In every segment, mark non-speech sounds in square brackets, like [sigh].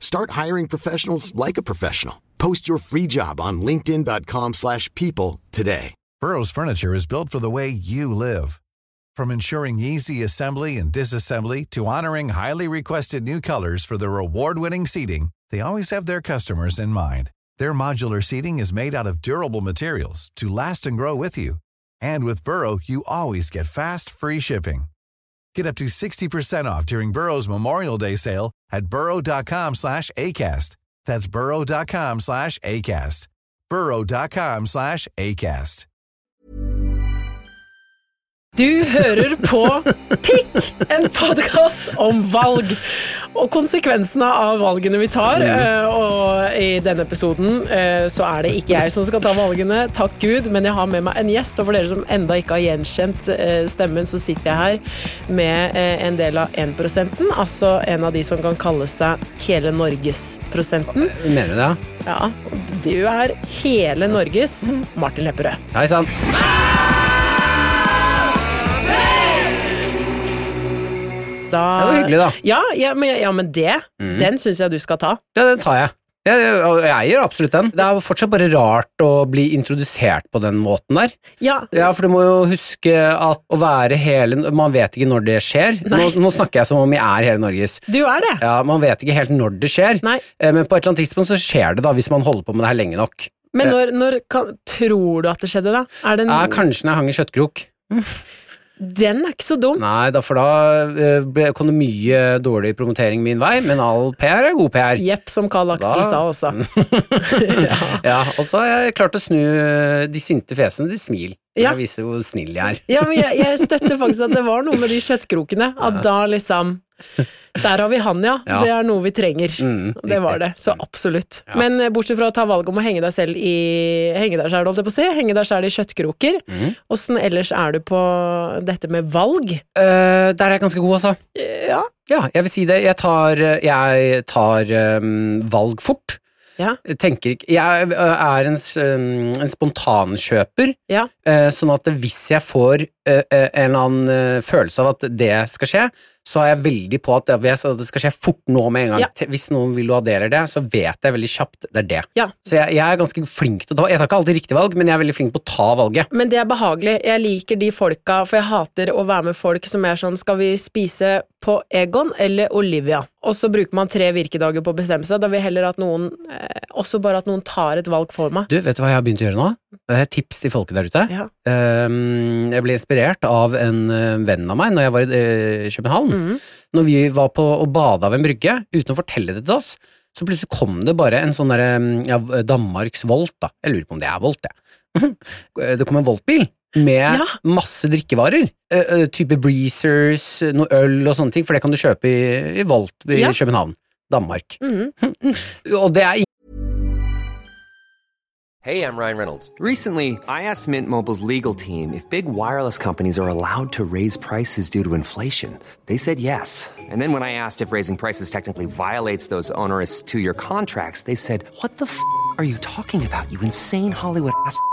Start hiring professionals like a professional. Post your free job on linkedin.com/people slash people today. Burrow's furniture is built for the way you live. From ensuring easy assembly and disassembly to honoring highly requested new colors for their award-winning seating, they always have their customers in mind. Their modular seating is made out of durable materials to last and grow with you. And with Burrow, you always get fast, free shipping. Get up to 60% off during Burrow's Memorial Day sale at burrow.com slash ACAST. That's burrow.com slash ACAST. burrow.com slash ACAST. Du hører på Pikk, en podkast om valg og konsekvensene av valgene vi tar. eh, Og i denne episoden eh, så er det ikke jeg som skal ta valgene, takk Gud, men jeg har med meg en gjest. Og for dere som enda ikke har gjenkjent eh, stemmen, så sitter jeg her med eh, en del av 1 altså en av de som kan kalle seg hele Norges-prosenten. Mener du det? Ja, du er hele Norges Martin Lepperød. Hei sann. Da- Det var hyggelig, da. Mm. Ja, ja, men, ja, men det, den syns jeg du skal ta. Ja, den tar jeg. Jeg, jeg, og jeg gjør absolutt den. Det er fortsatt bare rart å bli introdusert på den måten der. Ja, Ja, for du må jo huske at å være hele Man vet ikke når det skjer. Nå, nå snakker jeg som om jeg er hele Norges. du er det. Ja, Man vet ikke helt når det skjer, Nei. Eh, men på et eller annet tidspunkt så skjer det, da, hvis man holder på med det her lenge nok. Men når, når kan, tror du at det skjedde, da? Er den, Ja, kanskje når jeg hang i kjøttkrok. den er ikke så dum. Nei, da, for da eh, ble- kom det mye dårlig promotering min vei, men all PR er god PR. Jepp, som Carl Axel Da- Mm. sa også. [laughs] Ja, og så har jeg klart å snu eh, de sinte fjesene til smil. Ja. Ja. Jeg viser hvor snill jeg er. Ja, men jeg, jeg støtter faktisk at det var noe med de kjøttkrokene. At da liksom Der har vi han, ja. Ja. Det er noe vi trenger. Mm, det var riktig. det. Så absolutt. Ja. Men eh, bortsett fra å ta valget om å henge deg selv i Henge deg selv, holdt jeg på å si. Henge deg selv i kjøttkroker. Mm. Åssen ellers er du på dette med valg? Eh, der er jeg ganske god, altså. Ja. Ja, jeg vil si det. Jeg tar, eh, jeg tar eh, valg fort. Ja. Jeg Tenker ikke Jeg eh, er en, s- eh, en spontankjøper, Ja. eh, sånn at hvis jeg får eh, eh, en eller annen eh, følelse av at det skal skje, så er jeg veldig på at det, jeg sa at det skal skje fort nå med en gang. Ja. Te- Hvis noen vil ha det eller det, så vet jeg veldig kjapt det er det. Ja. Så jeg, jeg er ganske flink til å ta Jeg tar ikke alltid riktig valg, men jeg er veldig flink på å ta valget. Men det er behagelig. Jeg liker de folka, for jeg hater å være med folk som er sånn Skal vi spise på Egon eller Olivia? Og så bruker man tre virkedager på å bestemme seg. Da vil jeg heller at noen eh, Også bare at noen tar et valg for meg. Du, vet du hva jeg har begynt å gjøre nå? Det er et tips til folket der ute. Ja. Ehm, jeg ble inspirert av en eh, venn av meg når jeg var i eh, København. Mm. Når vi var på å bade av en brygge, uten å fortelle det til oss, så plutselig kom det bare en sånn derre mm, ja, Danmarks Volt, da. Jeg lurer på om det er Volt, jeg. [laughs] det kom en Volt-bil. Med Ja. masse drikkevarer. Eh, eh, type breezers, noe øl og sånne ting, for det kan du kjøpe i, i Volt i Ja. København. Danmark. Mhm. [laughs] Og det er Hey, I'm Ryan Reynolds. Recently, I asked Mint Mobile's legal team if big wireless companies are allowed to raise prices due to inflation. They said yes. And then when I asked if raising prices technically violates those onerous two year contracts, they said, What the f are you talking about, you insane Hollywood ass? f-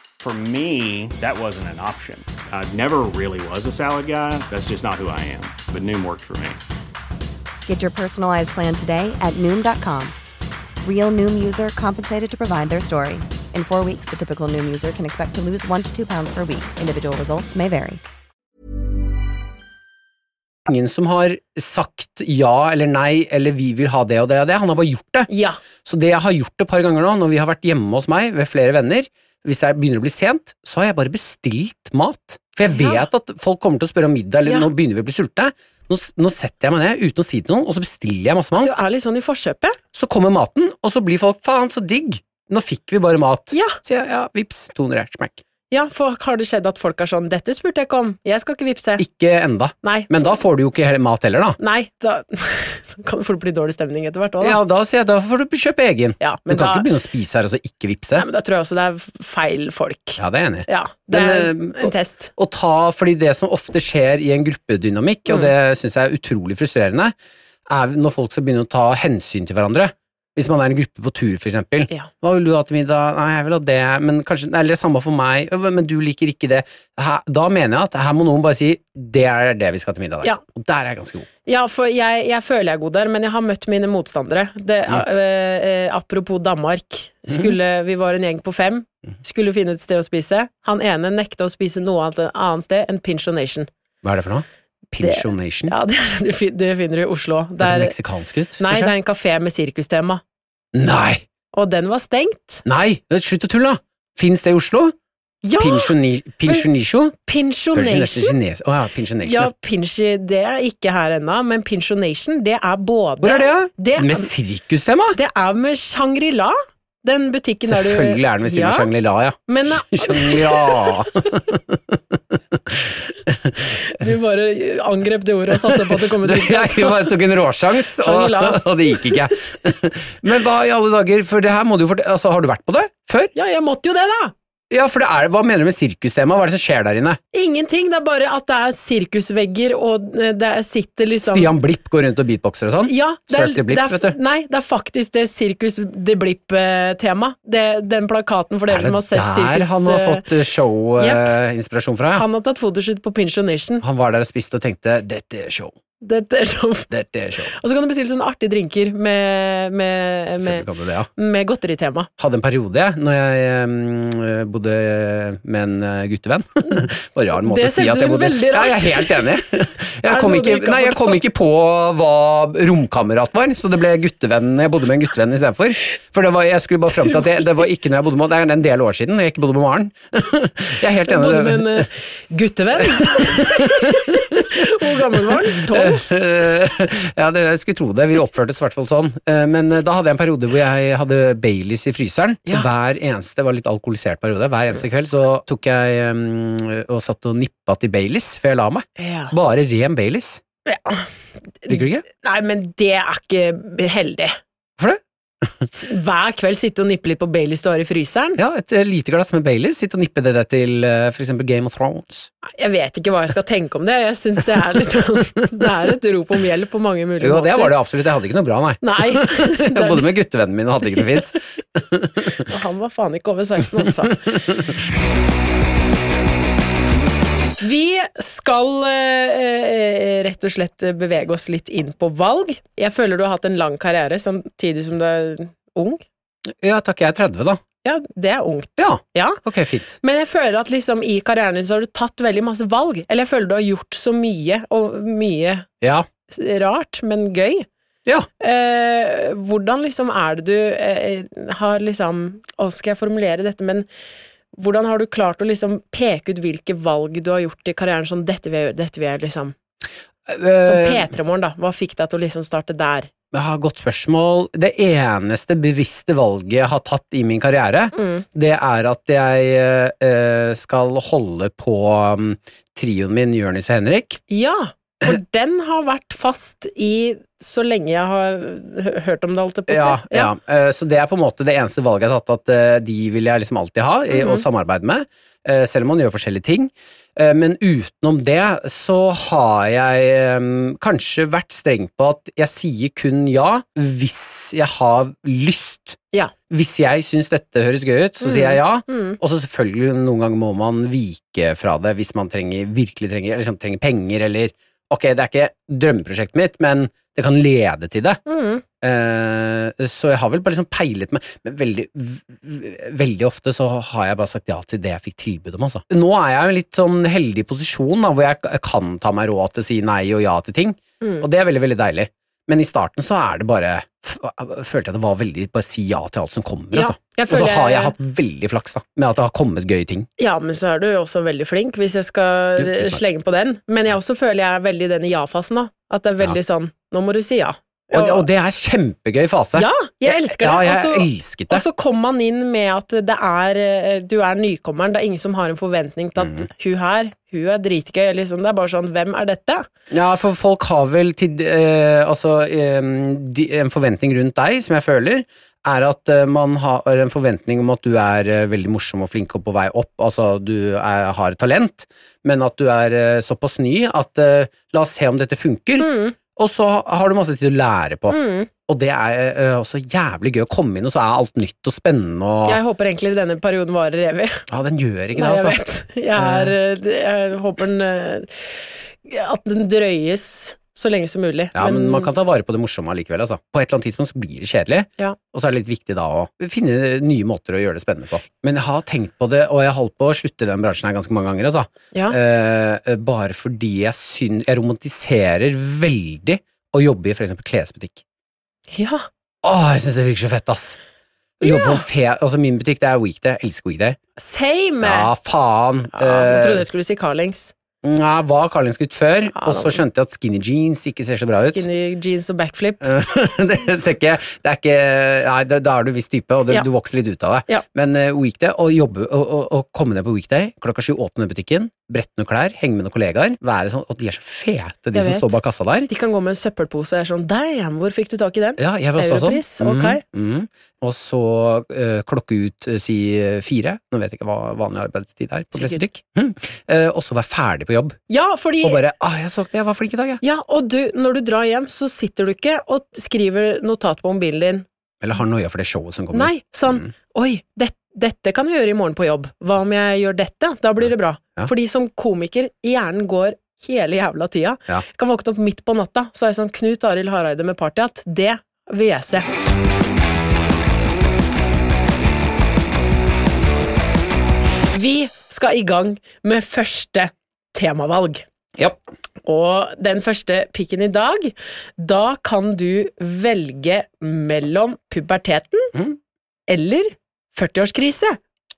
For me, that wasn't an option. I never really was a salad guy. That's just not who I am. But Noom worked for me. Get your personalized plan today at Noom.com. Real Noom user compensated to provide their story. In four weeks, the typical Noom user can expect to lose one to two pounds per week. Individual results may vary. ingen som har sagt ja eller nei eller vi vil ha det og det og det. Han har bare gjort det. Ja. Så det jeg har gjort et par ganger nå, når vi har vært hjemme hos meg ved flere venner, hvis det er- begynner å bli sent, så har jeg bare bestilt mat. For jeg Ja. vet at folk kommer til å spørre om middag, eller Ja. nå begynner vi å bli sultne. Nå, s- nå setter jeg meg ned uten å si det til noen, og så bestiller jeg masse mat. Du er litt sånn i forkjøpet. Så kommer maten, og så blir folk faen så digg. Nå fikk vi bare mat. Ja. Så jeg, ja, vips, 200 her, smack. Ja, for har det skjedd at folk er sånn 'Dette spurte jeg ikke om. Jeg skal ikke vippse'. Ikke enda. Nei. Men da får du jo ikke he- mat heller, da. Nei, da [laughs] kan det fort bli dårlig stemning etter hvert òg, da. Ja, da sier jeg da får du kjøpe egen. Ja, Du men kan da- ikke begynne å spise her og så ikke vippse. Nei, men da tror jeg også det er feil folk. Ja, det er jeg enig i. Ja, det er Men, eh, en test. Å ta, fordi det som ofte skjer i en gruppedynamikk, Mm. og det syns jeg er utrolig frustrerende, er når folk skal begynne å ta hensyn til hverandre. Hvis man er en gruppe på tur, for eksempel. Ja. Hva vil du ha til middag? Nei, jeg vil ha det, men kanskje nei, Eller samme for meg, Øh, men du liker ikke det. Her, da mener jeg at her må noen bare si 'det er det vi skal til middag'. der». Ja. Og der er jeg ganske god. Ja, for jeg, jeg føler jeg er god der, men jeg har møtt mine motstandere. Det, eh, eh, apropos Danmark. Mhm. Skulle, Vi var en gjeng på fem. Skulle finne et sted å spise. Han ene nekta å spise noe annet, annet sted enn Pinchonation. Hva er det for noe? Pinchonation? Ja, [laughs] det, er- du fin- det finner du i Oslo. Det er det er, meksikansk ut? nei, det Mhm. kanskje? er en kafé med sirkustema. nei! Og den var stengt. Nei! Slutt å tulle, da! Fins det i Oslo? Ja! Pinchoni- Pinchonisho? Høres nesten Pinchonation. kines- Å ja, Pinchonation. Ja, Ja. pinchi, det er ikke her ennå, men Pinchonation, det er både Hvor er det, da? Det er- med sirkustema? Det er med Shangri-La. Den butikken der du Selvfølgelig er den ved siden Ja, av Shangri-La, ja. Men Shangri-La! [laughs] du bare angrep det ordet og satsa på at [laughs] det kom [laughs] et Du, riktig. Jeg bare tok en råsjans, og, Shangri-La. [laughs] og det gikk ikke. [laughs] Men hva i alle dager, for det her må du jo fort- altså, Har du vært på det før? Ja, jeg måtte jo det, da! Ja, for det er, Hva mener du med sirkustema? Hva er det som skjer der inne? Ingenting. Det er bare at det er sirkusvegger, og eh, det er- sitter liksom Stian Blipp går rundt og beatboxer og sånn? Ja, det er, Cirque du Blipp, det er, vet du. Nei, det er faktisk det Sirkus de Blipp-temaet. Den plakaten for dere Er det som har sett der sirkus... han har eh, fått show-inspirasjon fra? ja? han har tatt fotoshoot på Pinchonation. Han var der og spiste og tenkte 'dette er show', Dette er så... Og 'dette er show'. så kan du bestille sånne artige drinker med, med, Selvfølgelig med, kan du det, ja. med godteritema. hadde en periode jeg, når jeg eh, bodde med en eh, guttevenn. [laughs] Det var en rar måte Det å si synes at du jeg er bodde veldig rart. Ja, jeg er helt [laughs] enig. [laughs] Er det Jeg kom, noe du ikke, ikke har nei, jeg kom ikke på hva romkamerat var, så det ble guttevenn. Jeg bodde med en guttevenn istedenfor. For det var, jeg skulle bare fram til at det, det var ikke når jeg bodde med Det er en del år siden når jeg ikke bodde med Maren. [laughs] Jeg er helt Jeg enig. bodde med en eh, [laughs] guttevenn. [laughs] Hvor gammel var han? Eh. Tolv? [laughs] ja, det, jeg skulle tro det. Vi oppførtes i hvert fall sånn. Eh, Men eh, da hadde jeg en periode hvor jeg hadde Baileys i fryseren. Så Ja. hver eneste det var litt alkoholisert periode. Hver eneste kveld så tok jeg eh, og satt og nippa til Baileys før jeg la meg. Ja. Bare ren Baileys. Ja. Liker du ikke? Nei, men det er ikke heldig. Hvorfor det? Hver kveld sitte og nippe litt på Baileys du har i fryseren. Ja, et eh, lite glass med Baileys. Sitt og nippe det der til eh, for eksempel Game of Thrones. Jeg vet ikke hva jeg skal tenke om det. Jeg synes det er litt sånn [laughs] Det er et rop om hjelp på mange mulige Jo, det var måter. det absolutt. Jeg hadde ikke noe bra, nei. Nei. [laughs] [laughs] Jeg Det bodde med guttevennen min og hadde ikke [laughs] noe fint. er, han var faen ikke over 16, [laughs] altså. Vi skal eh, eh, rett og slett bevege oss litt inn på valg. Jeg føler du har hatt en lang karriere samtidig som du er ung. Ja, takk, jeg er 30, da. Ja, det er ungt. Ja, Ja. ok, fint. Men jeg føler at liksom i karrieren din så har du tatt veldig masse valg. Eller jeg føler du har gjort så mye, og mye Ja. s- rart, men gøy. Ja. Eh, hvordan liksom er det du eh, har liksom Hvordan skal jeg formulere dette, men hvordan har du klart å liksom peke ut hvilke valg du har gjort i karrieren sånn dette vil jeg gjøre, dette vil jeg liksom Som Eh, P3-morgen, da. Hva fikk deg til å liksom starte der? Ja, godt spørsmål. Det eneste bevisste valget jeg har tatt i min karriere, det er at jeg eh, skal holde på um, trioen min Jonis og Henrik. Ja, for [clears throat] den har vært fast i så lenge jeg har hø- hørt om det, holdt jeg på å si. Ja, ja. Eh, så det er på en måte det eneste valget jeg har tatt, at eh, de vil jeg liksom alltid ha i- og samarbeide med. eh, Selv om man gjør forskjellige ting. Eh, Men utenom det så har jeg eh, kanskje vært streng på at jeg sier kun ja hvis jeg har lyst. Ja. Hvis jeg syns dette høres gøy ut, så sier jeg ja. Og så selvfølgelig, noen ganger må man vike fra det hvis man trenger, virkelig trenger, eller liksom, trenger penger, eller Ok, det er ikke drømmeprosjektet mitt, men det kan lede til det. Eh, så jeg har vel bare liksom peilet meg Men veldig, v- veldig ofte så har jeg bare sagt ja til det jeg fikk tilbud om, altså. Nå er jeg i en litt sånn Mm. heldig posisjon, da, hvor jeg k- kan ta meg råd til å si nei og ja til ting. Og det er veldig, veldig deilig. Men i starten så er det bare f- Følte jeg det var veldig Bare si ja til alt som kommer, Ja, jeg altså. Og så føler- har jeg hatt veldig flaks, da, med at det har kommet gøye ting. Ja, men så er du jo også veldig flink, hvis jeg skal Jo, tusen takk. slenge på den. Men jeg også føler jeg er veldig i den i ja-fasen, da. At det er veldig sånn Nå må du si ja. Og, og det er kjempegøy fase. Ja, jeg elsker det. Ja, Og jeg så- elsket det. Og så kom man inn med at det er, eh, du er nykommeren, det er ingen som har en forventning til at Mhm. hun her, hun er dritgøy. Liksom. Det er bare sånn, hvem er dette? Ja, for folk har vel til, eh, altså, eh, de, en forventning rundt deg, som jeg føler, er at eh, man har en forventning om at du er eh, veldig morsom og flink og på vei opp, altså du er, har talent, men at du er eh, såpass ny at eh, la oss se om dette funker, Mm. og så har du masse tid å lære på. Og det er eh, også jævlig gøy å komme inn, og så er alt nytt og spennende. Og, Jeg håper egentlig denne perioden varer evig. [laughs] Ja, den gjør ikke Nei, jeg det, altså. vet. Jeg, er, eh, det- jeg håper den eh, At den drøyes så lenge som mulig. Ja, men, man kan ta vare på det morsomme allikevel. Altså. På et eller annet tidspunkt så blir det kjedelig, Ja. og så er det litt viktig da å finne nye måter å gjøre det spennende på. Men jeg har tenkt på det, og jeg har holdt på å slutte i den bransjen her ganske mange ganger, altså. Ja. Eh, bare fordi jeg, syn- jeg romantiserer veldig å jobbe i for eksempel klesbutikk. ja. Åh, jeg syns det virker så fett, ass! Å jobbe på en fe... Altså, min butikk, det er weekday. Jeg elsker weekday. Same! Ja, faen! Ja, jeg trodde Eh, jeg skulle si Carlings. ja, var Carlings gutt før, og så da- skjønte jeg at skinny jeans ikke ser så bra ut. Skinny jeans og backflip. [laughs] Eh, det ser ikke Det er ikke Nei, da da er du viss type, og du, Ja. du vokser litt ut av det. Ja. Men eh, weekday, å jobbe å- å- å komme ned på weekday, klokka sju åpne butikken, brette noen klær, henge med noen kollegaer, være sånn Og de er så fete, de Jeg som vet. står bak kassa der. De kan gå med en søppelpose og jeg er sånn Damn, hvor fikk du tak i den? Ja, jeg vil også ha Europris, sånn. Mhm, ok. mhm. Og så eh, klokke ut eh, si eh, fire, nå vet jeg ikke hva vanlig arbeidstid er på Sikkert. klesbutikk, Mhm. Eh, og så være ferdig på jobb. Ja, fordi Og bare ah, 'Jeg så det, jeg var flink i dag, jeg'. ja, og du, når du drar hjem, så sitter du ikke og skriver notat på mobilen din. Eller har noia for det showet som kommer. Mm. Nei, sånn Oi, det, dette kan jeg gjøre i morgen på jobb. Hva om jeg gjør dette? Da blir det bra. Ja. Fordi som komiker, hjernen går hele jævla tida. Ja. Jeg kan våkne opp midt på natta, så er jeg sånn Knut Arild Hareide med partyhatt. Det E. vil jeg se. Vi skal i gang med første temavalg. Ja. Og den første pikken i dag, da kan du velge mellom puberteten Mhm. eller 40-årskrise.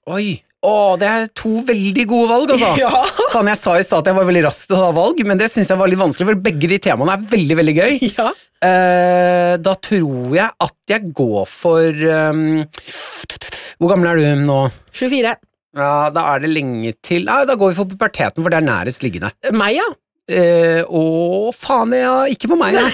Oi! Å, det er to veldig gode valg, altså! [laughs] Ja. Faen, jeg sa i stad at jeg var veldig rask til å ta valg, men det syns jeg var litt vanskelig, for begge de temaene er veldig, veldig gøy. [laughs] ja. Eh, da tror jeg at jeg går for ehm, Hvor gammel er du nå? 24. Ja, da er det lenge til Nei, da går vi for puberteten, for det er nærest liggende. Meg, ja. Eh, å, faen, ja, ikke på meg, ja.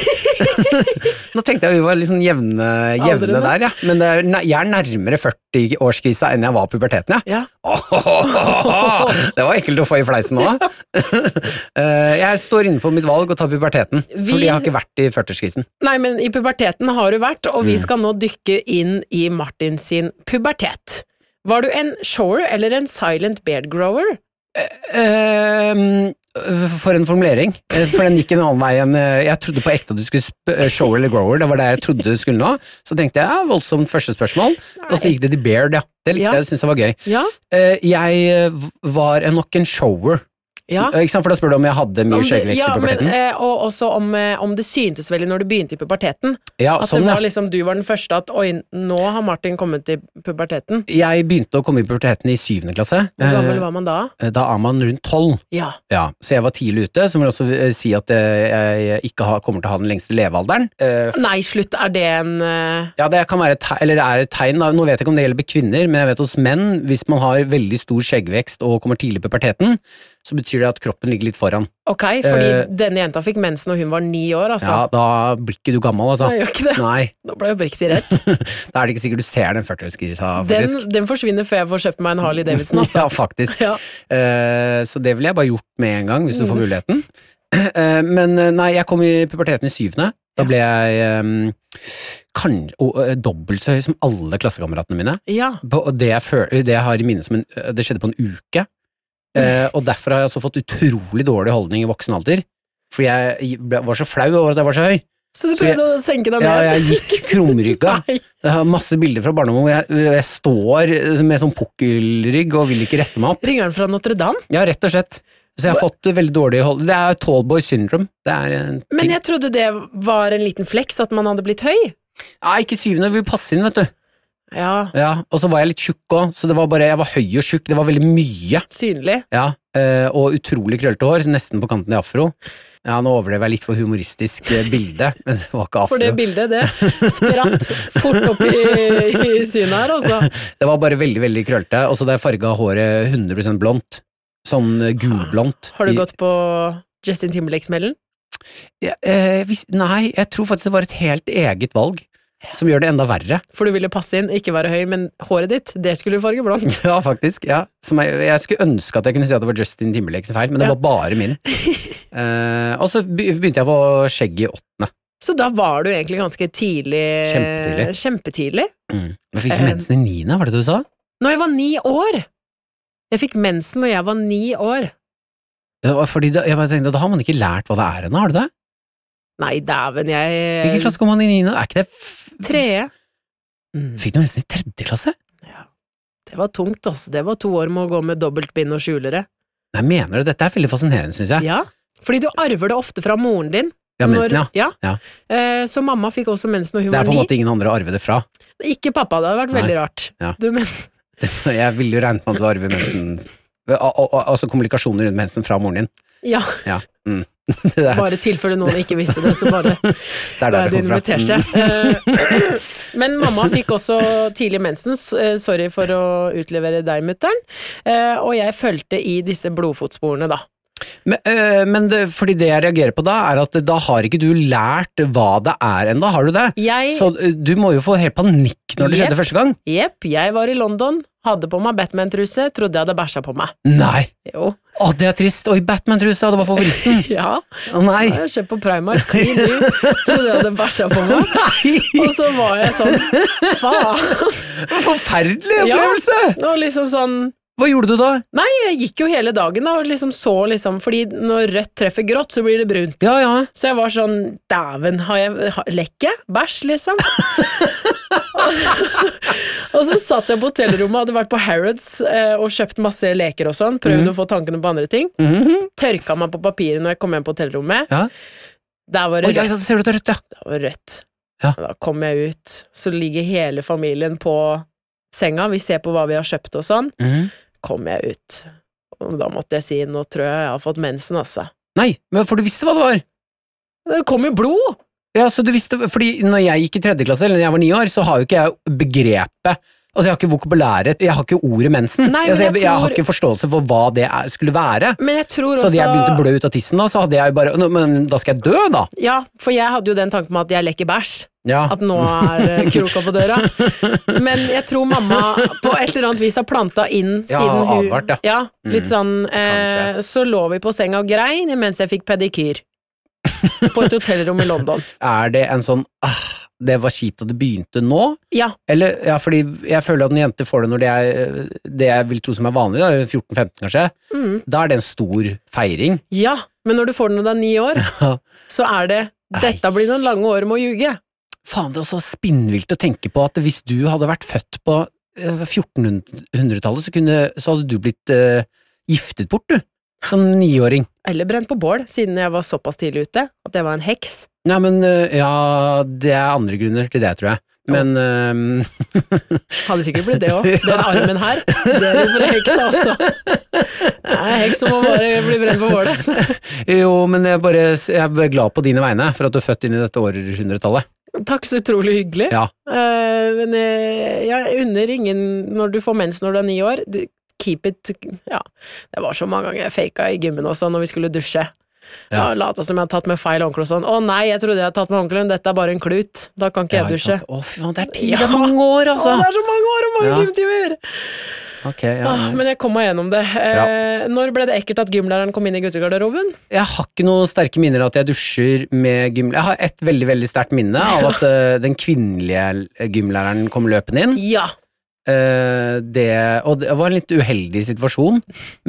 Nå tenkte jeg vi var litt sånn jevne, jevne Aldrene. der, ja. Men det er, nei, jeg er nærmere 40-årskrisa enn jeg var puberteten, ja. Ja. Åhåhåhå! [laughs] Det var ekkelt å få i fleisen nå. [laughs] da. Eh, Jeg står innenfor mitt valg og tar puberteten, Vi- fordi jeg har ikke vært i 40-årskrisen. Nei, men i puberteten har du vært, og vi skal nå dykke inn i Martin sin pubertet. Var du en shower eller en silent beard grower? Ehm, For en formulering. Eh, For den gikk en annen vei enn eh, Jeg trodde på ekte at du skulle sp eh, shower eller grower, det var det jeg trodde du skulle nå. Så tenkte jeg ja, voldsomt første spørsmål, og så gikk det til beard, ja. Det likte Ja. jeg, det syntes jeg var gøy. Ja. Eh, Jeg eh, v- var en- nok en shower, ja. Eh, ikke sant? for da spør du om jeg hadde mye Om det- skjeggvekst ja, i men, puberteten. eh, og også om, eh, om det syntes veldig når du begynte i puberteten. Ja, At sånn, det ja. var liksom, du var den første at Oi, nå har Martin kommet i puberteten. Jeg begynte å komme i puberteten i syvende klasse. Hvor gammel Eh, var man da? Da er man rundt tolv. Ja. Ja, så jeg var tidlig ute, som vil også eh, si at eh, jeg ikke har, kommer til å ha den lengste levealderen. Eh, Nei, slutt, er det en eh, Ja, det kan være et tegn, eller det er et tegn, da. nå vet jeg ikke om det gjelder kvinner, men jeg vet hos menn, hvis man har veldig stor skjeggvekst og kommer tidlig i puberteten, så betyr det at kroppen ligger litt foran. Ok, fordi Eh, denne jenta fikk mens når hun var ni år, altså. Ja, da blir ikke du gammel, altså. Nei, gjør ikke det. Nei, [laughs] Nå ble jeg oppriktig redd. da er det ikke sikkert du ser den 40-årskrisa, Den, faktisk. den forsvinner før jeg får kjøpt meg en Harley Davidson, altså. [laughs] Ja, faktisk. Ja. Mm. Eh, så det ville jeg bare gjort med en gang, hvis du får muligheten. [clears throat] Eh, men eh, nei, jeg kom i puberteten i syvende. Da ble jeg eh, kan, og, eh, dobbelt så høy som alle klassekameratene mine. Ja. på, og det jeg, føler, det jeg har i minne som en, det skjedde på en uke. Eh, og derfor har jeg også fått utrolig dårlig holdning i voksen alder. For jeg ble, var så flau over at jeg var så høy. Så du Så jeg- prøvde å senke deg Ja, ned? jeg [laughs] gikk krumrygga. Nei. Jeg har masse bilder fra barndommen hvor jeg, jeg står med sånn pukkelrygg og vil ikke rette meg opp. Ringeren fra Notre-Dame? Ja, rett og slett. Så jeg har fått veldig dårlig hold. Det er tallboy syndrome. Det er en ting. Men jeg trodde det var en liten fleks at man hadde blitt høy. Ja, ikke syvende, vi vil passe inn, vet du. Ja, Ja, og så var jeg litt tjukk òg, så det var bare, jeg var høy og tjukk. Det var veldig mye. synlig. Ja, eh, Og utrolig krøllete hår, nesten på kanten i afro. Ja, Nå overdrev jeg litt for humoristisk eh, bilde, [laughs] men det var ikke afro. [laughs] For det bildet, det spratt fort opp i, i synet her, altså. Det var bare veldig veldig krøllete, og så da jeg farga håret 100 blondt. Sånn eh, gulblondt. Har I- du gått på Justin Timberlake-smellen? Ja, eh, hvis, Nei, jeg tror faktisk det var et helt eget valg, som gjør det enda verre. [laughs] For du ville passe inn, ikke være høy, men håret ditt, det skulle du farge blondt. [laughs] Ja, faktisk. Ja. Som jeg, jeg skulle ønske at jeg kunne si at det var Justin Timberlake sin feil, men det Ja. var [laughs] bare min. Eh, og så be- begynte jeg å få skjegg i åttende. Så da var du egentlig ganske tidlig Kjempetidlig. Kjempetidlig. Mm. Jeg fikk Eh. mensen i niende, var det det du sa? Når jeg var ni år! Jeg fikk mensen når jeg var ni år. Ja, fordi da, jeg bare tenkte, da har man ikke lært hva det er ennå, har du det? Nei, dæven, Hvilken jeg klasse kom man inn i niende? Er ikke det f Tredje. Mm. Fikk du mensen i tredje klasse? Det var tungt, altså. Det var to år med å gå med dobbeltbind og skjulere. Nei, mener du? Dette er veldig fascinerende, syns jeg. Ja. Fordi du arver det ofte fra moren din. Ja, mensen, ja. Når- Ja. Eh, så mamma fikk også mens når hun Det er var på en ni. måte ingen andre å arve det fra. [laughs] Ikke pappa, det hadde vært Nei. veldig rart. Ja. Du, men, Jeg ville jo regnet med at du arver mensen al- al- al- Altså kommunikasjonen rundt mensen fra moren din. ja, Ja. Mm. [laughs] Det er bare i tilfelle noen ikke visste det, så bare [laughs] det Nei, er der det det kommer fra. inviterer Mm. seg. Eh, Men mamma fikk også tidlig mensen. s- eh, Sorry for å utlevere deg, mutter'n. Eh, Og jeg fulgte i disse blodfotsporene, da. Men, øh, men det, fordi det jeg reagerer på da, er at da har ikke du lært hva det er ennå, har du det? Jeg- Så øh, du må jo få helt panikk når det Jepp. skjedde første gang. Jepp, jeg var i London, hadde på meg Batman-truse, trodde jeg hadde bæsja på meg. Nei! Jo. [laughs] Å, det er trist! Oi, Batman-trusa, det var favoritten! Ja. Å nei! Jeg har kjøpt på Primark, klin ny, trodde jeg hadde bæsja på meg. Og så var jeg sånn, faen. Forferdelig Ja. [laughs] opplevelse! Og liksom sånn Hva gjorde du da? Nei, jeg gikk jo hele dagen da, og liksom så liksom Fordi når rødt treffer grått, så blir det brunt. Ja, ja. Så jeg var sånn Dæven, har jeg har- lekk jeg? Bæsj, liksom. [laughs] og så satt jeg på hotellrommet, hadde vært på Harrods eh, og kjøpt masse leker og sånn. Prøvd Mhm. å få tankene på andre ting. Tørka meg på papiret når jeg kom hjem på hotellrommet. Ja. Der var Oi, det ja, rødt. ja, ser du det er rødt, ja. Der var det rødt. Ja. Da kom jeg ut, så ligger hele familien på senga. Vi ser på hva vi har kjøpt og sånn. Mhm. Kom jeg ut. Og da måtte jeg si nå tror jeg jeg har fått mensen, altså. Nei, men for du visste hva det var. Det kom jo blod! Ja, så du visste, fordi når jeg gikk i tredje klasse, eller når jeg var ni år, så har jo ikke jeg begrepet Altså, jeg har ikke vokabulæret, jeg har ikke ordet mensen. Nei, men altså, jeg, jeg jeg, har tror- ikke forståelse for hva det er, skulle være. Men jeg tror Så også hadde jeg begynt å blø ut av tissen, da, så hadde jeg jo bare «Nå, Men da skal jeg dø, da! Ja, for jeg hadde jo den tanken med at jeg leker bæsj. Ja. At nå er [laughs] eh, kroka på døra. Men jeg tror mamma på et eller annet vis har planta inn Ja, siden hun advart, ja. Mm. litt sånn eh, kanskje. Så lå vi på senga og grein mens jeg fikk pedikyr. På et hotellrom i London. Er det en sånn ah, det var kjipt at det begynte nå? Ja. Eller, ja, fordi jeg føler at når jenter får det når det er det jeg vil tro som er vanlig, da, 14-15 kanskje, da er det en stor feiring. ja. Men når du får den når du er ni år, så er det Dette blir noen lange år med å ljuge. Faen, det er også spinnvilt å tenke på at hvis du hadde vært født på eh, 1400-tallet, så, kunne- så hadde du blitt eh, giftet bort, du. Som niåring. Eller brent på bål, siden jeg var såpass tidlig ute at jeg var en heks. Nei, men eh, ja, det er andre grunner til det, tror jeg. Men eh, [laughs] Hadde sikkert blitt det òg. Den armen her, det er jo for heks, altså. Nei, heks som må bare bli brent på bålet. Jo, men jeg, bare, jeg er glad på dine vegne for at du er født inn i dette århundretallet. Takk, så utrolig hyggelig. Ja. Eh, men eh, jeg unner ingen når du får mens når du er ni år. Du, keep it Ja, det var så mange ganger jeg faka i gymmen også når vi skulle dusje. Ja. Ja. Lata som jeg hadde tatt med feil håndkle og sånn. Å nei, jeg trodde jeg hadde tatt med håndkleen, dette er bare en klut. Da kan ikke Ja, jeg ikke dusje. sant? Å, fy faen, det er tid! Ja. Det er mange år, altså! Å, det er så mange år og mange Ja. gymtimer! Ok, ja. Ah, men jeg kom meg gjennom det. Eh, når ble det ekkelt at gymlæreren kom inn i guttegarderoben? Jeg har ikke noen sterke minner av at jeg dusjer med gym... Jeg har et veldig veldig sterkt minne av [laughs] at eh, den kvinnelige eh, gymlæreren kom løpende inn. Ja! Eh, det, og det var en litt uheldig situasjon,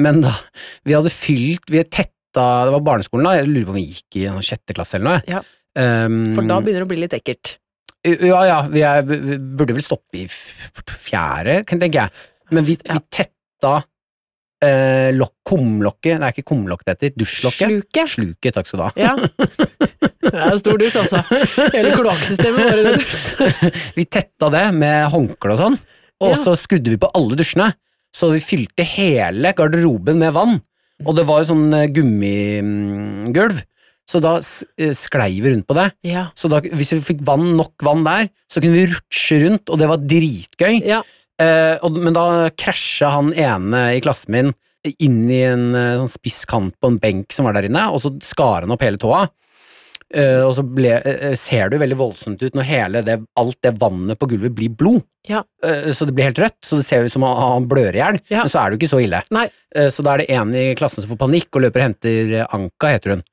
men da Vi hadde fylt Vi hadde tetta Det var barneskolen, da. Jeg lurer på om vi gikk i ja, sjette klasse eller noe. Ja. Ehm, For da begynner det å bli litt ekkelt. Eh, Ja, ja, vi, er, vi burde vel stoppe i f- fjerde, kan- tenker jeg. Men vi, vi tetta eh, lokk- kumlokket Nei, ikke kumlokk det heter. Dusjlokket. Sluket. Sluket, takk skal du ha. Ja. Det er jo stor dusj, altså. Hele kloakksystemet var i den dusjen. [laughs] [laughs] Vi tetta det med håndkle og sånn, og Ja. så skrudde vi på alle dusjene. Så vi fylte hele garderoben med vann, og det var jo sånn eh, gummigulv. Så da s- eh, sklei vi rundt på det. [laughs] Ja. Så da, hvis vi fikk vann, nok vann der, så kunne vi rutsje rundt, og det var dritgøy. Ja. Eh, og, men da krasja han ene i klassen min inn i en eh, sånn spiss kant på en benk som var der inne, og så skar han opp hele tåa. Eh, og så ble, eh, ser det jo veldig voldsomt ut når hele det, alt det vannet på gulvet blir blod. Ja. Eh, så det blir helt rødt, så det ser ut som han, han blør i hjel, Ja. men så er det jo ikke så ille. Nei. Eh, Så da er det en i klassen som får panikk og løper og henter eh, Anka, heter hun.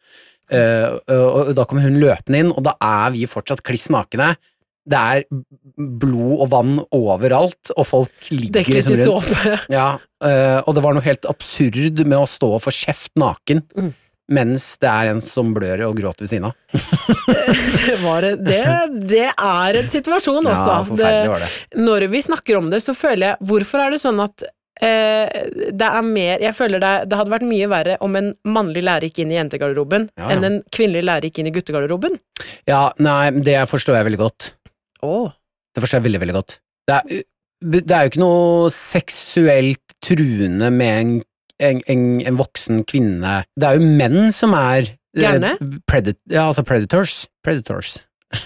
Eh, Og og da kommer hun løpende inn, og da er vi fortsatt kliss nakne. Det er b- blod og vann overalt, og folk ligger Dekket liksom i rundt. såpe. [laughs] Ja, eh, og det var noe helt absurd med å stå og få kjeft naken mens det er en som blør og gråter ved siden av. Det, var et- det, det er en situasjon, Ja, altså. forferdelig var det. Når vi snakker om det, så føler jeg Hvorfor er det sånn at eh, det er mer Jeg føler det, er- det hadde vært mye verre om en mannlig lærer gikk inn i jentegarderoben Ja, ja. enn en kvinnelig lærer gikk inn i guttegarderoben. Ja, nei, det forstår jeg veldig godt. Oh. Det forstår jeg veldig, veldig godt. Det er, det er jo ikke noe seksuelt truende med en, en, en, en voksen kvinne. Det er jo menn som er eh, Gærne? Predat, ja, altså predators. Predators. [laughs]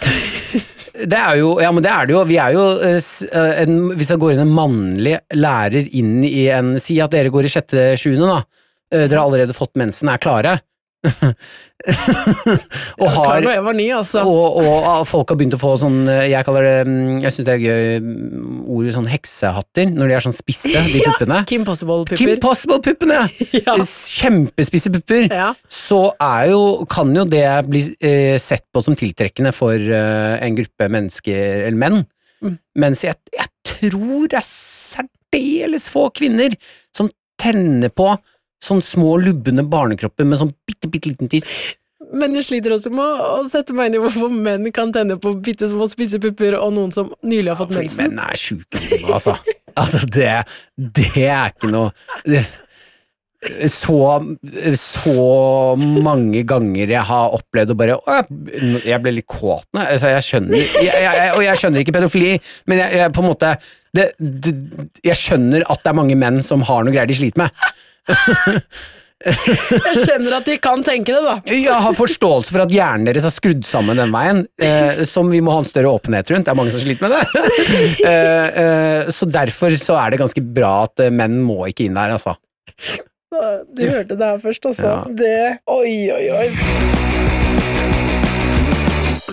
det er jo Ja, men det er det jo. Vi er jo eh, s- eh, en, Hvis det går inn en mannlig lærer inn i en Si at dere går i sjette-sjuende, da. Eh, Dere har allerede fått mensen, er klare. [laughs] og Klar har når jeg var ny, altså. og, og ah, folk har begynt å få sånn eh, Jeg kaller det mm, Jeg syns det er gøy mm, ordet sånn heksehatter, når de er sånn spisse, [laughs] de puppene. Kim Possible-pupper. Kim Possible-puppene! [laughs] Ja. Kjempespisse pupper. Ja. Så er jo, kan jo det bli eh, sett på som tiltrekkende for eh, en gruppe mennesker, eller menn. Mm. Mens jeg, jeg tror det er særdeles få kvinner som tenner på sånn små, lubne barnekropper med sånn bitte, bitte liten tiss. Men jeg sliter også med å å sette meg inn i hvorfor menn kan tenne på bitte små spisse pupper, og noen som nylig har fått Fordi mensen. menn er sjuke, altså. altså det, det er ikke noe det, så, så mange ganger jeg har opplevd å bare å, jeg, jeg ble litt kåt nå. Altså, jeg skjønner, jeg, jeg, jeg, og jeg skjønner ikke pedofili, men jeg, jeg på en måte det, det, Jeg skjønner at det er mange menn som har noe greier de sliter med. Jeg skjønner at de kan tenke det, da. Jeg har forståelse for at hjernen deres er skrudd sammen den veien, eh, som vi må ha en større åpenhet rundt. Det er mange som sliter med det. eh, eh, så derfor så er det ganske bra at eh, menn må ikke inn der, altså. Du hørte det her først, altså. Ja. Det Oi, oi, oi.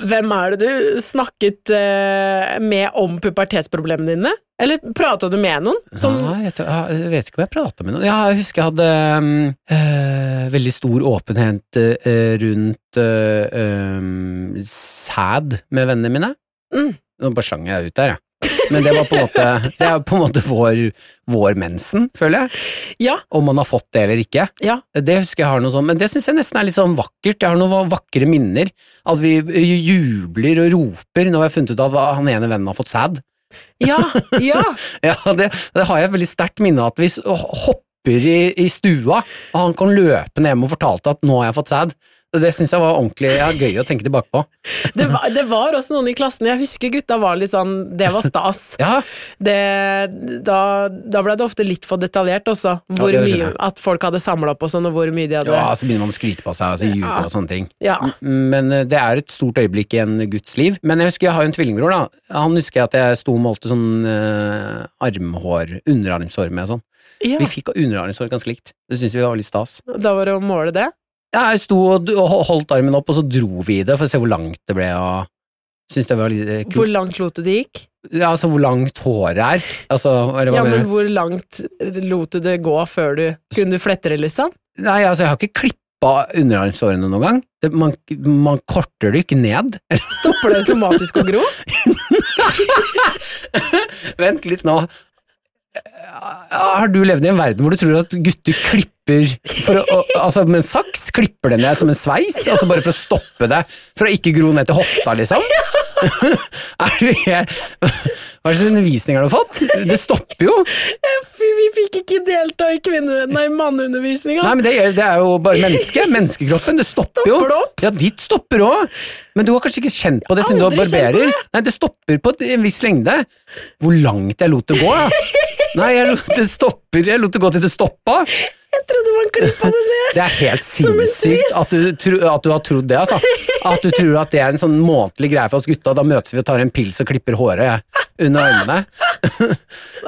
Hvem er det du snakket eh, med om pubertetsproblemene dine? Eller prata du med noen? Sånn, Nei, jeg, tror, jeg vet ikke om jeg prata med noen. Ja, jeg husker jeg hadde mm, eh, veldig stor åpenhet eh, rundt eh, um, sæd med vennene mine. Nå bare slang jeg ut der, jeg. Men det var på en måte, det er på en måte vår, vår mensen, føler jeg. Ja, Om man har fått det eller ikke. ja. Det husker jeg har noe sånn, men det syns jeg nesten er litt sånn vakkert. Jeg har noen vakre minner. At vi jubler og roper når vi har funnet ut at han ene vennen har fått sæd. [laughs] Ja, ja. Ja, det, det har jeg et veldig sterkt minne av. At vi s- hopper i, i stua, og han kom løpende hjem og fortalte at 'nå har jeg fått sæd'. Det syns jeg var ordentlig ja, gøy å tenke tilbake på. Det var, det var også noen i klassen Jeg husker gutta var litt sånn Det var stas. Ja, det, da, da ble det ofte litt for detaljert også, hvor det skjønner mye jeg. at folk hadde samla opp og sånn, og hvor mye de hadde ja altså, så begynner man å skryte på seg og så ljuge og sånne ting. Ja. Men eh, det er et stort øyeblikk i en guds liv. Men jeg husker jeg har jo en tvillingbror, da. Han husker jeg at jeg sto og målte sånn eh, armhår, underarmshår med og sånn. Ja, Vi fikk underarmshår ganske likt. Det syntes vi var litt stas. Da var det å måle det. Ja, Jeg sto og d- og holdt armen opp, og så dro vi i det for å se hvor langt det ble. og Syns det var litt eh, Hvor kult. langt lot du det gikk? Ja, altså hvor langt håret er. Altså, eller Ja, hva mener men du? hvor langt lot du det gå før du Kunne du flette det, liksom? Nei, altså jeg har ikke klippa underarmshårene noen gang. Det, man, man korter det ikke ned. [laughs] Stopper det automatisk å gro? [laughs] Vent litt nå. Har du levd i en verden hvor du tror at gutter klipper for å, å- altså med en saks? Klipper de ned som en sveis, altså bare for å stoppe det fra å ikke gro ned til hofta, liksom? [laughs] Er du helt Hva slags undervisning har du fått? Det stopper jo! Vi fikk ikke delta i kvinne... Nei, manneundervisninga. Nei, men det, er- det er jo bare [laughs] mennesket. Menneskekroppen. Det stopper jo. Stopper det opp? Ja, ditt stopper òg. Men du har kanskje ikke kjent på det siden du har Aldri kjent på barberer? det. Nei, det stopper på en viss lengde. Hvor langt jeg lot det gå, ja. Nei, jeg lot det stopper Jeg lot det gå til det stoppa. Jeg trodde man klippa det ned. [laughs] Det er helt Som en sinnssykt twist. at du, tro, at du har trodd det, altså. At du tror at det er en sånn månedlig greie for oss gutta. Da møtes vi og tar en pils og klipper håret jeg, under øynene.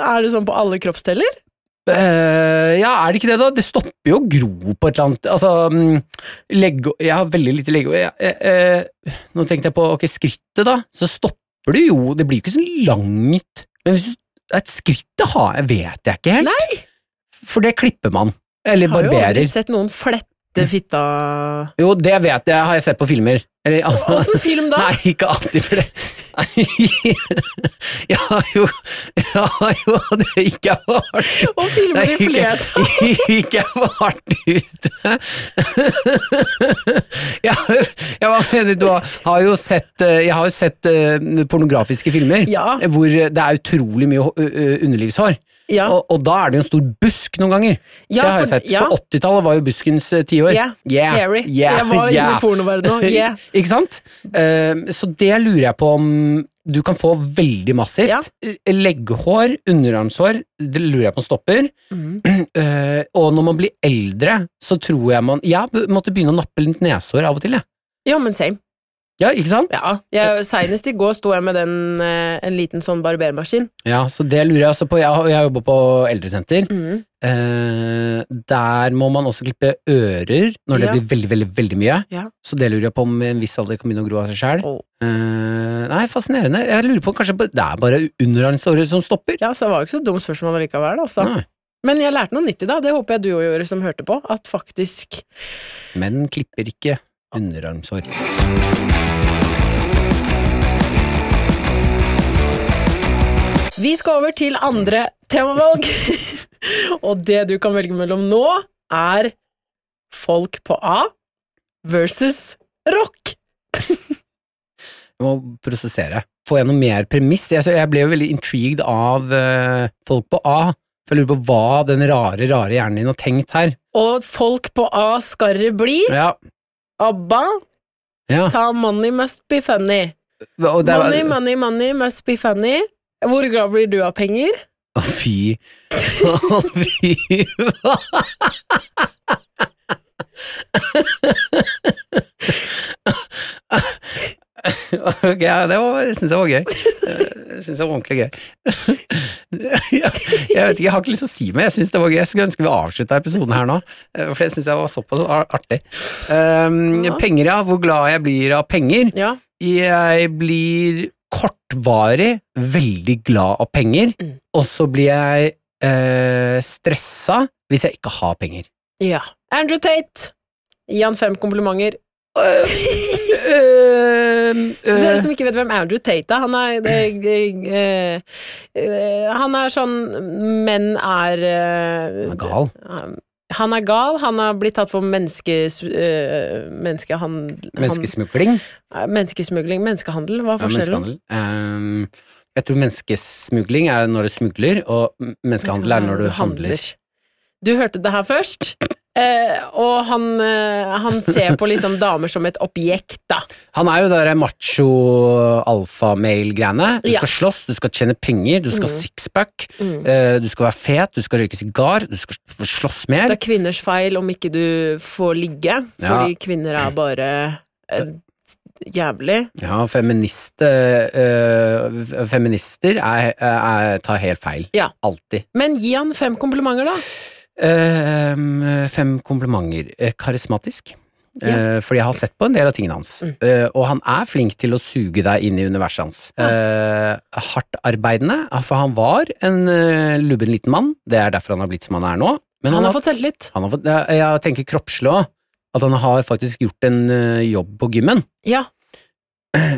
Er det sånn på alle kroppsdeler? Eh, ja, er det ikke det, da? Det stopper jo å gro på et eller annet Altså, mm, legge, Jeg har veldig lite legge... Jeg, eh, eh, nå tenkte jeg på ok, skrittet, da. Så stopper det jo Det blir jo ikke så langt. Men hvis du, et skritt det har jeg, vet jeg ikke helt. For det klipper man. Eller Har jo aldri barberer. sett noen flette fitta [laughs] Jo, det vet jeg, har jeg sett på filmer. Eller, altså, Åssen film da? Nei, ikke alltid, for det Nei. [laughs] Jeg har jo Jeg har jo det ikke vært Og filmer i flertall. [laughs] Ikke vært [laughs] ute. Jeg, har- jeg var enig, du har har jo sett eh, Jeg har jo sett eh, pornografiske filmer Ja. hvor det er utrolig mye hå- ø- ø, underlivshår. Ja. Og, og da er det jo en stor busk noen ganger. Ja, det har jeg for- sett. ja. På 80-tallet var jo buskens eh, tiår. Yeah. Yeah. Hairy. Yeah. Jeg var yeah. inne i pornoverdenen. [laughs] Yeah. Ikke sant? Ehm, så det lurer jeg på om du kan få veldig massivt. Eh, Ja. Legghår, underarmshår, det lurer jeg på om stopper. Mhm. [clears throat] Eh, og når man blir eldre, så tror jeg man Jeg b- måtte begynne å nappe litt neshår av og til, jeg. Ja, men same. Ja, ikke sant? Ja. Jeg, senest i går sto jeg med den, eh, en liten sånn barbermaskin. Ja, så det lurer jeg også på. Jeg, har- jeg jobber på eldresenter. Eh, der må man også klippe ører når det Ja. blir veldig, veldig veldig mye. Ja. Så det lurer jeg på om i en viss alder kan begynne å gro av seg sjæl. Åh. nei, fascinerende. Jeg lurer på kanskje på- Det er bare underarmsåret som stopper. Ja, så det var jo ikke så dumt spørsmål likevel, altså. Nei. Men jeg lærte noe nytt i dag, det håper jeg du òg gjorde som hørte på, at faktisk Menn klipper ikke underarmsår. Vi skal over til andre temavalg. [laughs] og det du kan velge mellom nå, er folk på A versus rock. Jeg må prosessere. Får jeg noe mer premiss? Jeg, så jeg ble jo veldig intrigued av eh, folk på A. For jeg lurer på hva den rare, rare hjernen din har tenkt her. Og folk på A skal det bli Ja, ABBA ja. sa 'Money must be funny'. Og det, Money, money, money must be funny. Hvor glad blir du av penger? Å, fy. Å, fy. ok, ja, det var, jeg syns jeg var gøy. Jeg syns det var ordentlig gøy. jeg, vet ikke, jeg har ikke lyst til å si mer, jeg syns det var gøy. Jeg skulle ønske vi avslutta episoden her nå, eh, for jeg syns jeg var såpass ar- artig. Um, Ja. Penger, ja. Hvor glad jeg blir av penger. Ja. Jeg blir kortvarig veldig glad av penger, Mm. og så blir jeg eh, stressa hvis jeg ikke har [laughs] penger. ja. Andrew Tate. Gi han fem komplimenter. Eh, For Dere som ikke vet hvem Andrew Tate er, han er det, eh, eh, Han er sånn Menn er eh, Han er gal. eh, Han er gal. Han har blitt tatt for menneskes, eh, menneskehan- Menneskesmugling. han- eh, menneskesmugling. Menneskehandel, hva er Ja, forskjellen? menneskehandel. Ehm, jeg tror menneskesmugling er når du smugler, og m- menneskehandel er når du handler. Du hørte det her først. Eh, og han, eh, han ser på liksom damer som et objekt, da. Han er jo det derre macho alfamail-greiene. Du Ja. Mm. skal slåss, du skal tjene penger, du skal ha sixpack, eh, du skal være fet, du skal røyke sigar, du skal slåss mer. Det er kvinners feil om ikke du får ligge, fordi Ja. kvinner er bare eh, jævlig. Ja, feminist, eh, eh, feminister er, er, tar helt feil. Ja. Alltid. Men gi han fem komplimenter, da. Ehm, fem komplimenter. Eh, Karismatisk. Eh, Fordi jeg har sett på en del av tingene hans. Mm. Eh, og han er flink til å suge deg inn i universet hans. Eh, Hardtarbeidende, ja, for han var en eh, lubben liten mann. Det er derfor han har blitt som han er nå. Men Han, har fått selvtillit. han har fått jeg, jeg tenker kroppslig òg. At han har faktisk gjort en eh, jobb på gymmen. [clears throat] Ja.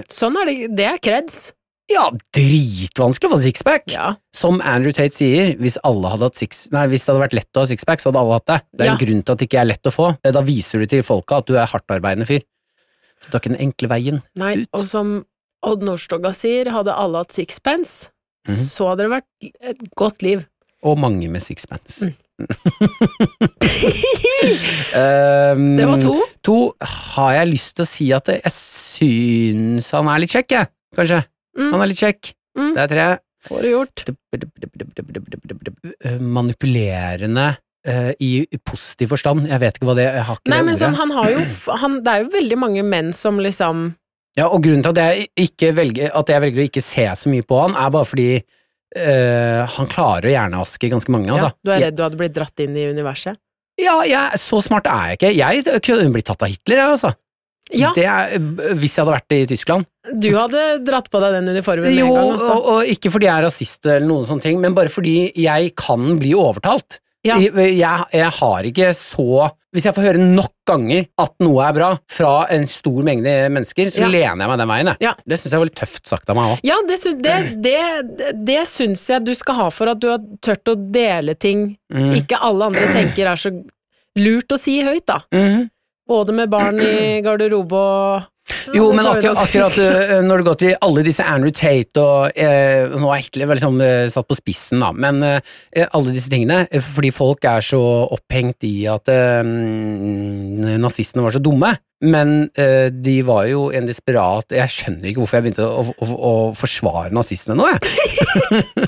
Sånn er det. Det er kreds. Ja, dritvanskelig å få sixpack! Ja. Som Andrew Tate sier, hvis, alle hadde hatt six, nei, hvis det hadde vært lett å ha sixpack, så hadde alle hatt det. Det er en Ja. grunn til at det ikke er lett å få. Eh, Da viser du til folka at du er hardtarbeidende fyr. Så du tar ikke den enkle veien Nei, ut. og som Odd Norstoga sier, hadde alle hatt sixpence, Mhm. så hadde det vært et godt liv. Og mange med sixpence. Mm. [laughs] [laughs] Um, Det var to. To har jeg lyst til å si at jeg syns han er litt kjekk, jeg. Kanskje. Han er litt kjekk. Mm. Det er tre. Får det gjort. Eh, Manipulerende eh, i positiv forstand. Jeg vet ikke hva det Jeg har ikke Nei, det men ordet. sånn, han har jo f- han, Det er jo veldig mange menn som liksom Ja, og grunnen til at jeg, ikke velger, at jeg velger å ikke se så mye på han, er bare fordi eh, han klarer å hjernevaske ganske mange, altså. ja, Du er redd du hadde blitt dratt inn i universet? Ja, jeg, så smart er jeg ikke. Jeg kunne blitt tatt av Hitler, jeg, altså. Ja, Det er, hvis jeg hadde vært i Tyskland. du hadde dratt på deg den uniformen med Jo, en gang. Altså. og, og ikke fordi jeg er rasist eller noen sånne ting, men bare fordi jeg kan bli overtalt. Ja. Jeg, jeg, jeg har ikke så Hvis jeg får høre nok ganger at noe er bra fra en stor mengde mennesker, så Ja. lener jeg meg den veien. jeg. Ja. Det syns jeg var litt tøft sagt av meg òg. Ja, det, sy- det, det, det syns jeg du skal ha for at du har tørt å dele ting Mm. ikke alle andre tenker er så lurt å si høyt, da. Mm. Både med barn i garderobe og Ja, Jo, det men tar vi akkurat, nå. [laughs] akkurat eh, når det går til alle disse Andrew Tate og eh, Nå er Hitler vel liksom eh, satt på spissen, da, men eh, alle disse tingene eh, Fordi folk er så opphengt i at eh, mm, nazistene var så dumme. Men eh, de var jo en desperat Jeg skjønner ikke hvorfor jeg begynte å, å, å forsvare nazistene nå, jeg.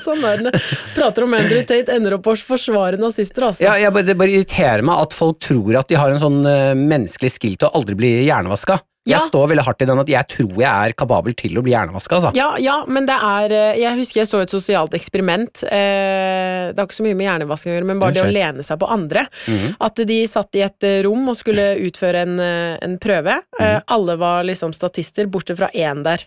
Sånn er det. Prater om Andrew Tate, ender opp på å forsvare nazister, altså. Ja, jeg bare, det bare irriterer meg at folk tror at de har en sånn eh, menneskelig skill til å aldri bli hjernevaska. Ja. Jeg står veldig hardt i den at jeg tror jeg er kapabel til å bli hjernevaska, altså. Ja, ja, men det er eh, Jeg husker jeg så et sosialt eksperiment. eh, Det har ikke så mye med hjernevasking å gjøre, men bare det Det å skjer. Mhm. lene seg på andre. At de satt i et eh, rom og skulle utføre en, eh, en prøve. Eh, Mhm. Alle var liksom statister, bortsett fra én der.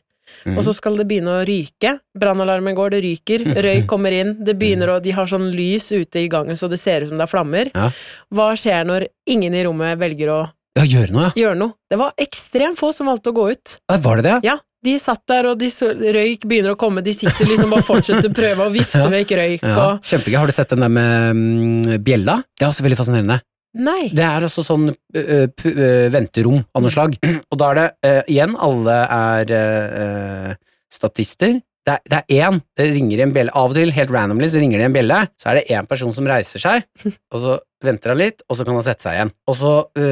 Mhm. Og så skal det begynne å ryke. Brannalarmen går, det ryker. [laughs] Røyk kommer inn. Det begynner å, De har sånn lys ute i gangen så det ser ut som det er flammer. Mhm. Ja. Hva skjer når ingen i rommet velger å Ja, gjør noe, ja. gjøre noe? Det var ekstremt få som valgte å gå ut. Ja, Var det [laughs] det? Ja, de satt der, og de så, røyk begynner å komme. De sitter liksom bare fortsetter å prøve å vifte [laughs] Ja. vekk røyk Ja, og Kjempegøy. Har du sett den der med mm, bjella? Det er også veldig fascinerende. Nei. Det er også sånn ø, ø, pu- ø, venterom av noe slag. [clears throat] Og da er det ø, igjen, alle er ø, ø, statister. Det er, det er én. Det ringer i en bjelle. Av og til, helt randomly, så ringer det i en bjelle. Så er det én person som reiser seg, [laughs] og så venter han litt, og så kan han sette seg igjen. Og så ø,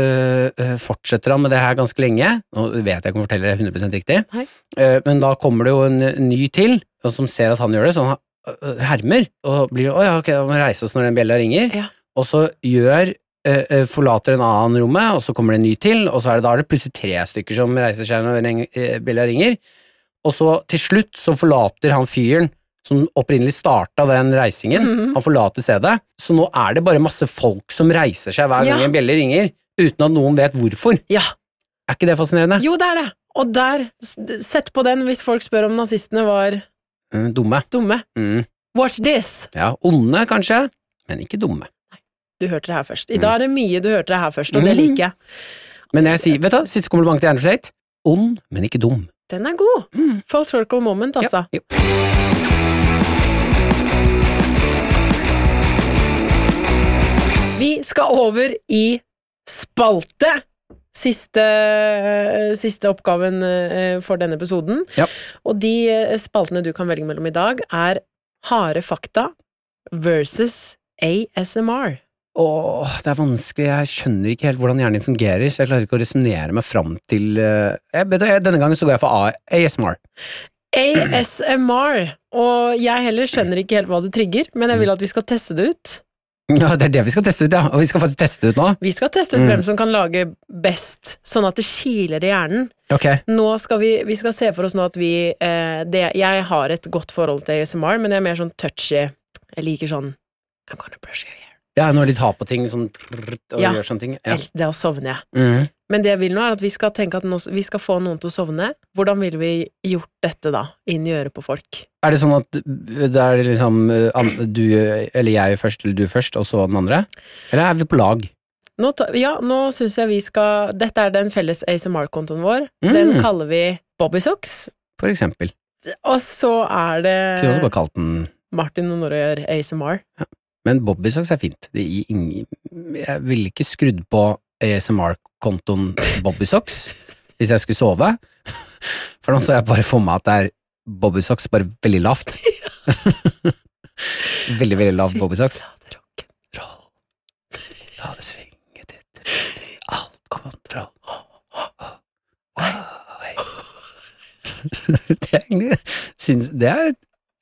ø, fortsetter han med det her ganske lenge. Nå vet jeg ikke om jeg forteller det 100 riktig, Nei. Eh, men da kommer det jo en ø, ny til, og som ser at han gjør det, så han ø, ø, øh, hermer. Og blir sånn, Å ja, ok, da må vi reise oss når den bjella ringer. Ja. Og så gjør eh, eh, forlater en annen rommet, og så kommer det en ny til, og så er det, da er det plutselig tre stykker som reiser seg når en- eh, bjella ringer. Og så til slutt så forlater han fyren som opprinnelig starta den reisingen, Mhm. han forlater stedet. Så nå er det bare masse folk som reiser seg hver Ja. gang en bjelle ringer, uten at noen vet hvorfor. Ja. Er ikke det fascinerende? Jo, det er det. Og der, s- d- sett på den hvis folk spør om nazistene var Mm, dumme. dumme. Mm. Watch this! Ja, onde kanskje, men ikke dumme. Du hørte det her først. I dag er det mye du hørte det her først, og det Mm. liker jeg. Men jeg sier, vet du, hva, siste kompliment til Andrew Tate. Ond, men ikke dum. Den er god. Full circle moment, altså. Mm. Ja. Vi skal over i spalte. Siste, eh, siste oppgaven eh, for denne episoden. Ja. Og de eh, spaltene du kan velge mellom i dag, er harde fakta versus ASMR. Åh, det er vanskelig. Jeg skjønner ikke helt hvordan hjernen din fungerer, så jeg klarer ikke å resonnere meg fram til eh, jeg, vet du, jeg, Denne gangen så går jeg for A- ASMR. ASMR! Og jeg heller skjønner ikke helt hva det trigger, men jeg vil at vi skal teste det ut. Ja, det er det vi skal teste ut, ja. Og vi skal faktisk teste det ut nå. Vi skal teste ut hvem som kan lage best, sånn at det kiler i hjernen. Ok. Nå skal vi, vi skal se for oss nå at vi eh, det, Jeg har et godt forhold til ASMR, men jeg er mer sånn touchy. Jeg liker sånn I'm gonna brush your hair. Ja, når de tar på ting sånn trrrt, og Ja. gjør sånne ting. Ja. Ellers- Da sovner jeg. Mhm. Men det jeg vil nå, er at vi skal tenke at nå, vi skal få noen til å sovne. Hvordan ville vi gjort dette, da? Inn i øret på folk. Er det sånn at eh, det er liksom eh, an- du eh, eller jeg først, eller du først, og så den andre? Eller er vi på lag? Nå, ta- ja, nå syns jeg vi skal Dette er den felles ASMR-kontoen vår. Mm. Den kaller vi Bobbysocks. For eksempel. Og så er det Kunne også bare kalt den Martin og Nora gjør ASMR. Men Bobbysocks er fint. Det gir ingen Jeg ville ikke skrudd på ASMR-kontoen Bobbysocks. hvis jeg skulle sove. For nå så jeg bare for meg at det er bobbysocks, bare veldig lavt. veldig, veldig lavt bobbysocks. La det svinge til det beste i all kontroll. Oi. [laughs] det er egentlig syns, Det er et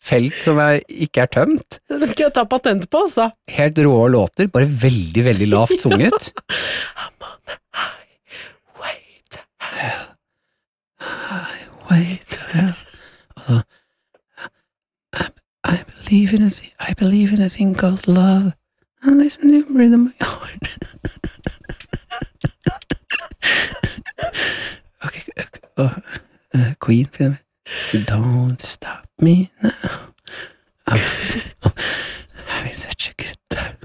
felt som er, ikke er tømt. Den skal jeg ta patent på, altså. Helt rå låter, bare veldig, veldig lavt [laughs] sunget. Wait. Wait. Altså, I, I believe in a thing, I believe in a thing called love. And listen to rhythm of my heart. [laughs] okay, okay, uh, uh, Queen filmen. Don't stop me now. I'm, I'm having such a good time.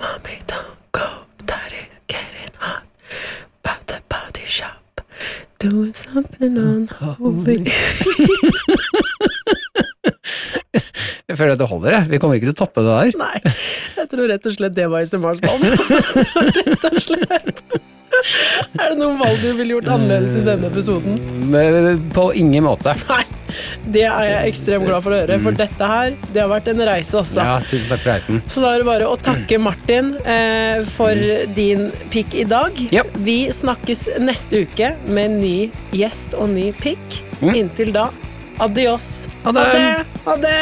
Mommy, don't go. Daddy, getting hot. About the body shop. Doing something unholy. Jeg føler at det holder, jeg. Vi kommer ikke til å toppe det der. Nei, jeg tror rett og slett det var ASMR-spalten. [laughs] rett og slett. Er det noen valg du ville gjort annerledes i denne episoden? Men På ingen måte. Nei. Det er jeg ekstremt glad for å høre, for dette her, det har vært en reise, altså. Mm. Ja, Mm. tusen takk for reisen. Så da er det bare å takke Martin eh, for din pick i dag. Mm. Ja. Vi snakkes neste uke med en ny gjest og ny pick. Inntil da, adios. Mm. Ha det. Ha det.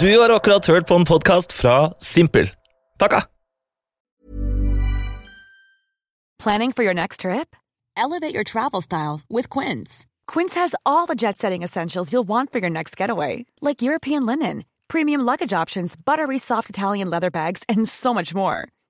Du har akkurat hørt på en podkast fra Simpel. ah. Takka! Planning for your next trip? Elevate your travel style with Quince. Quince has all the jet setting essentials you'll want for your next getaway, like European linen, premium luggage options, buttery soft Italian leather bags, and so much more.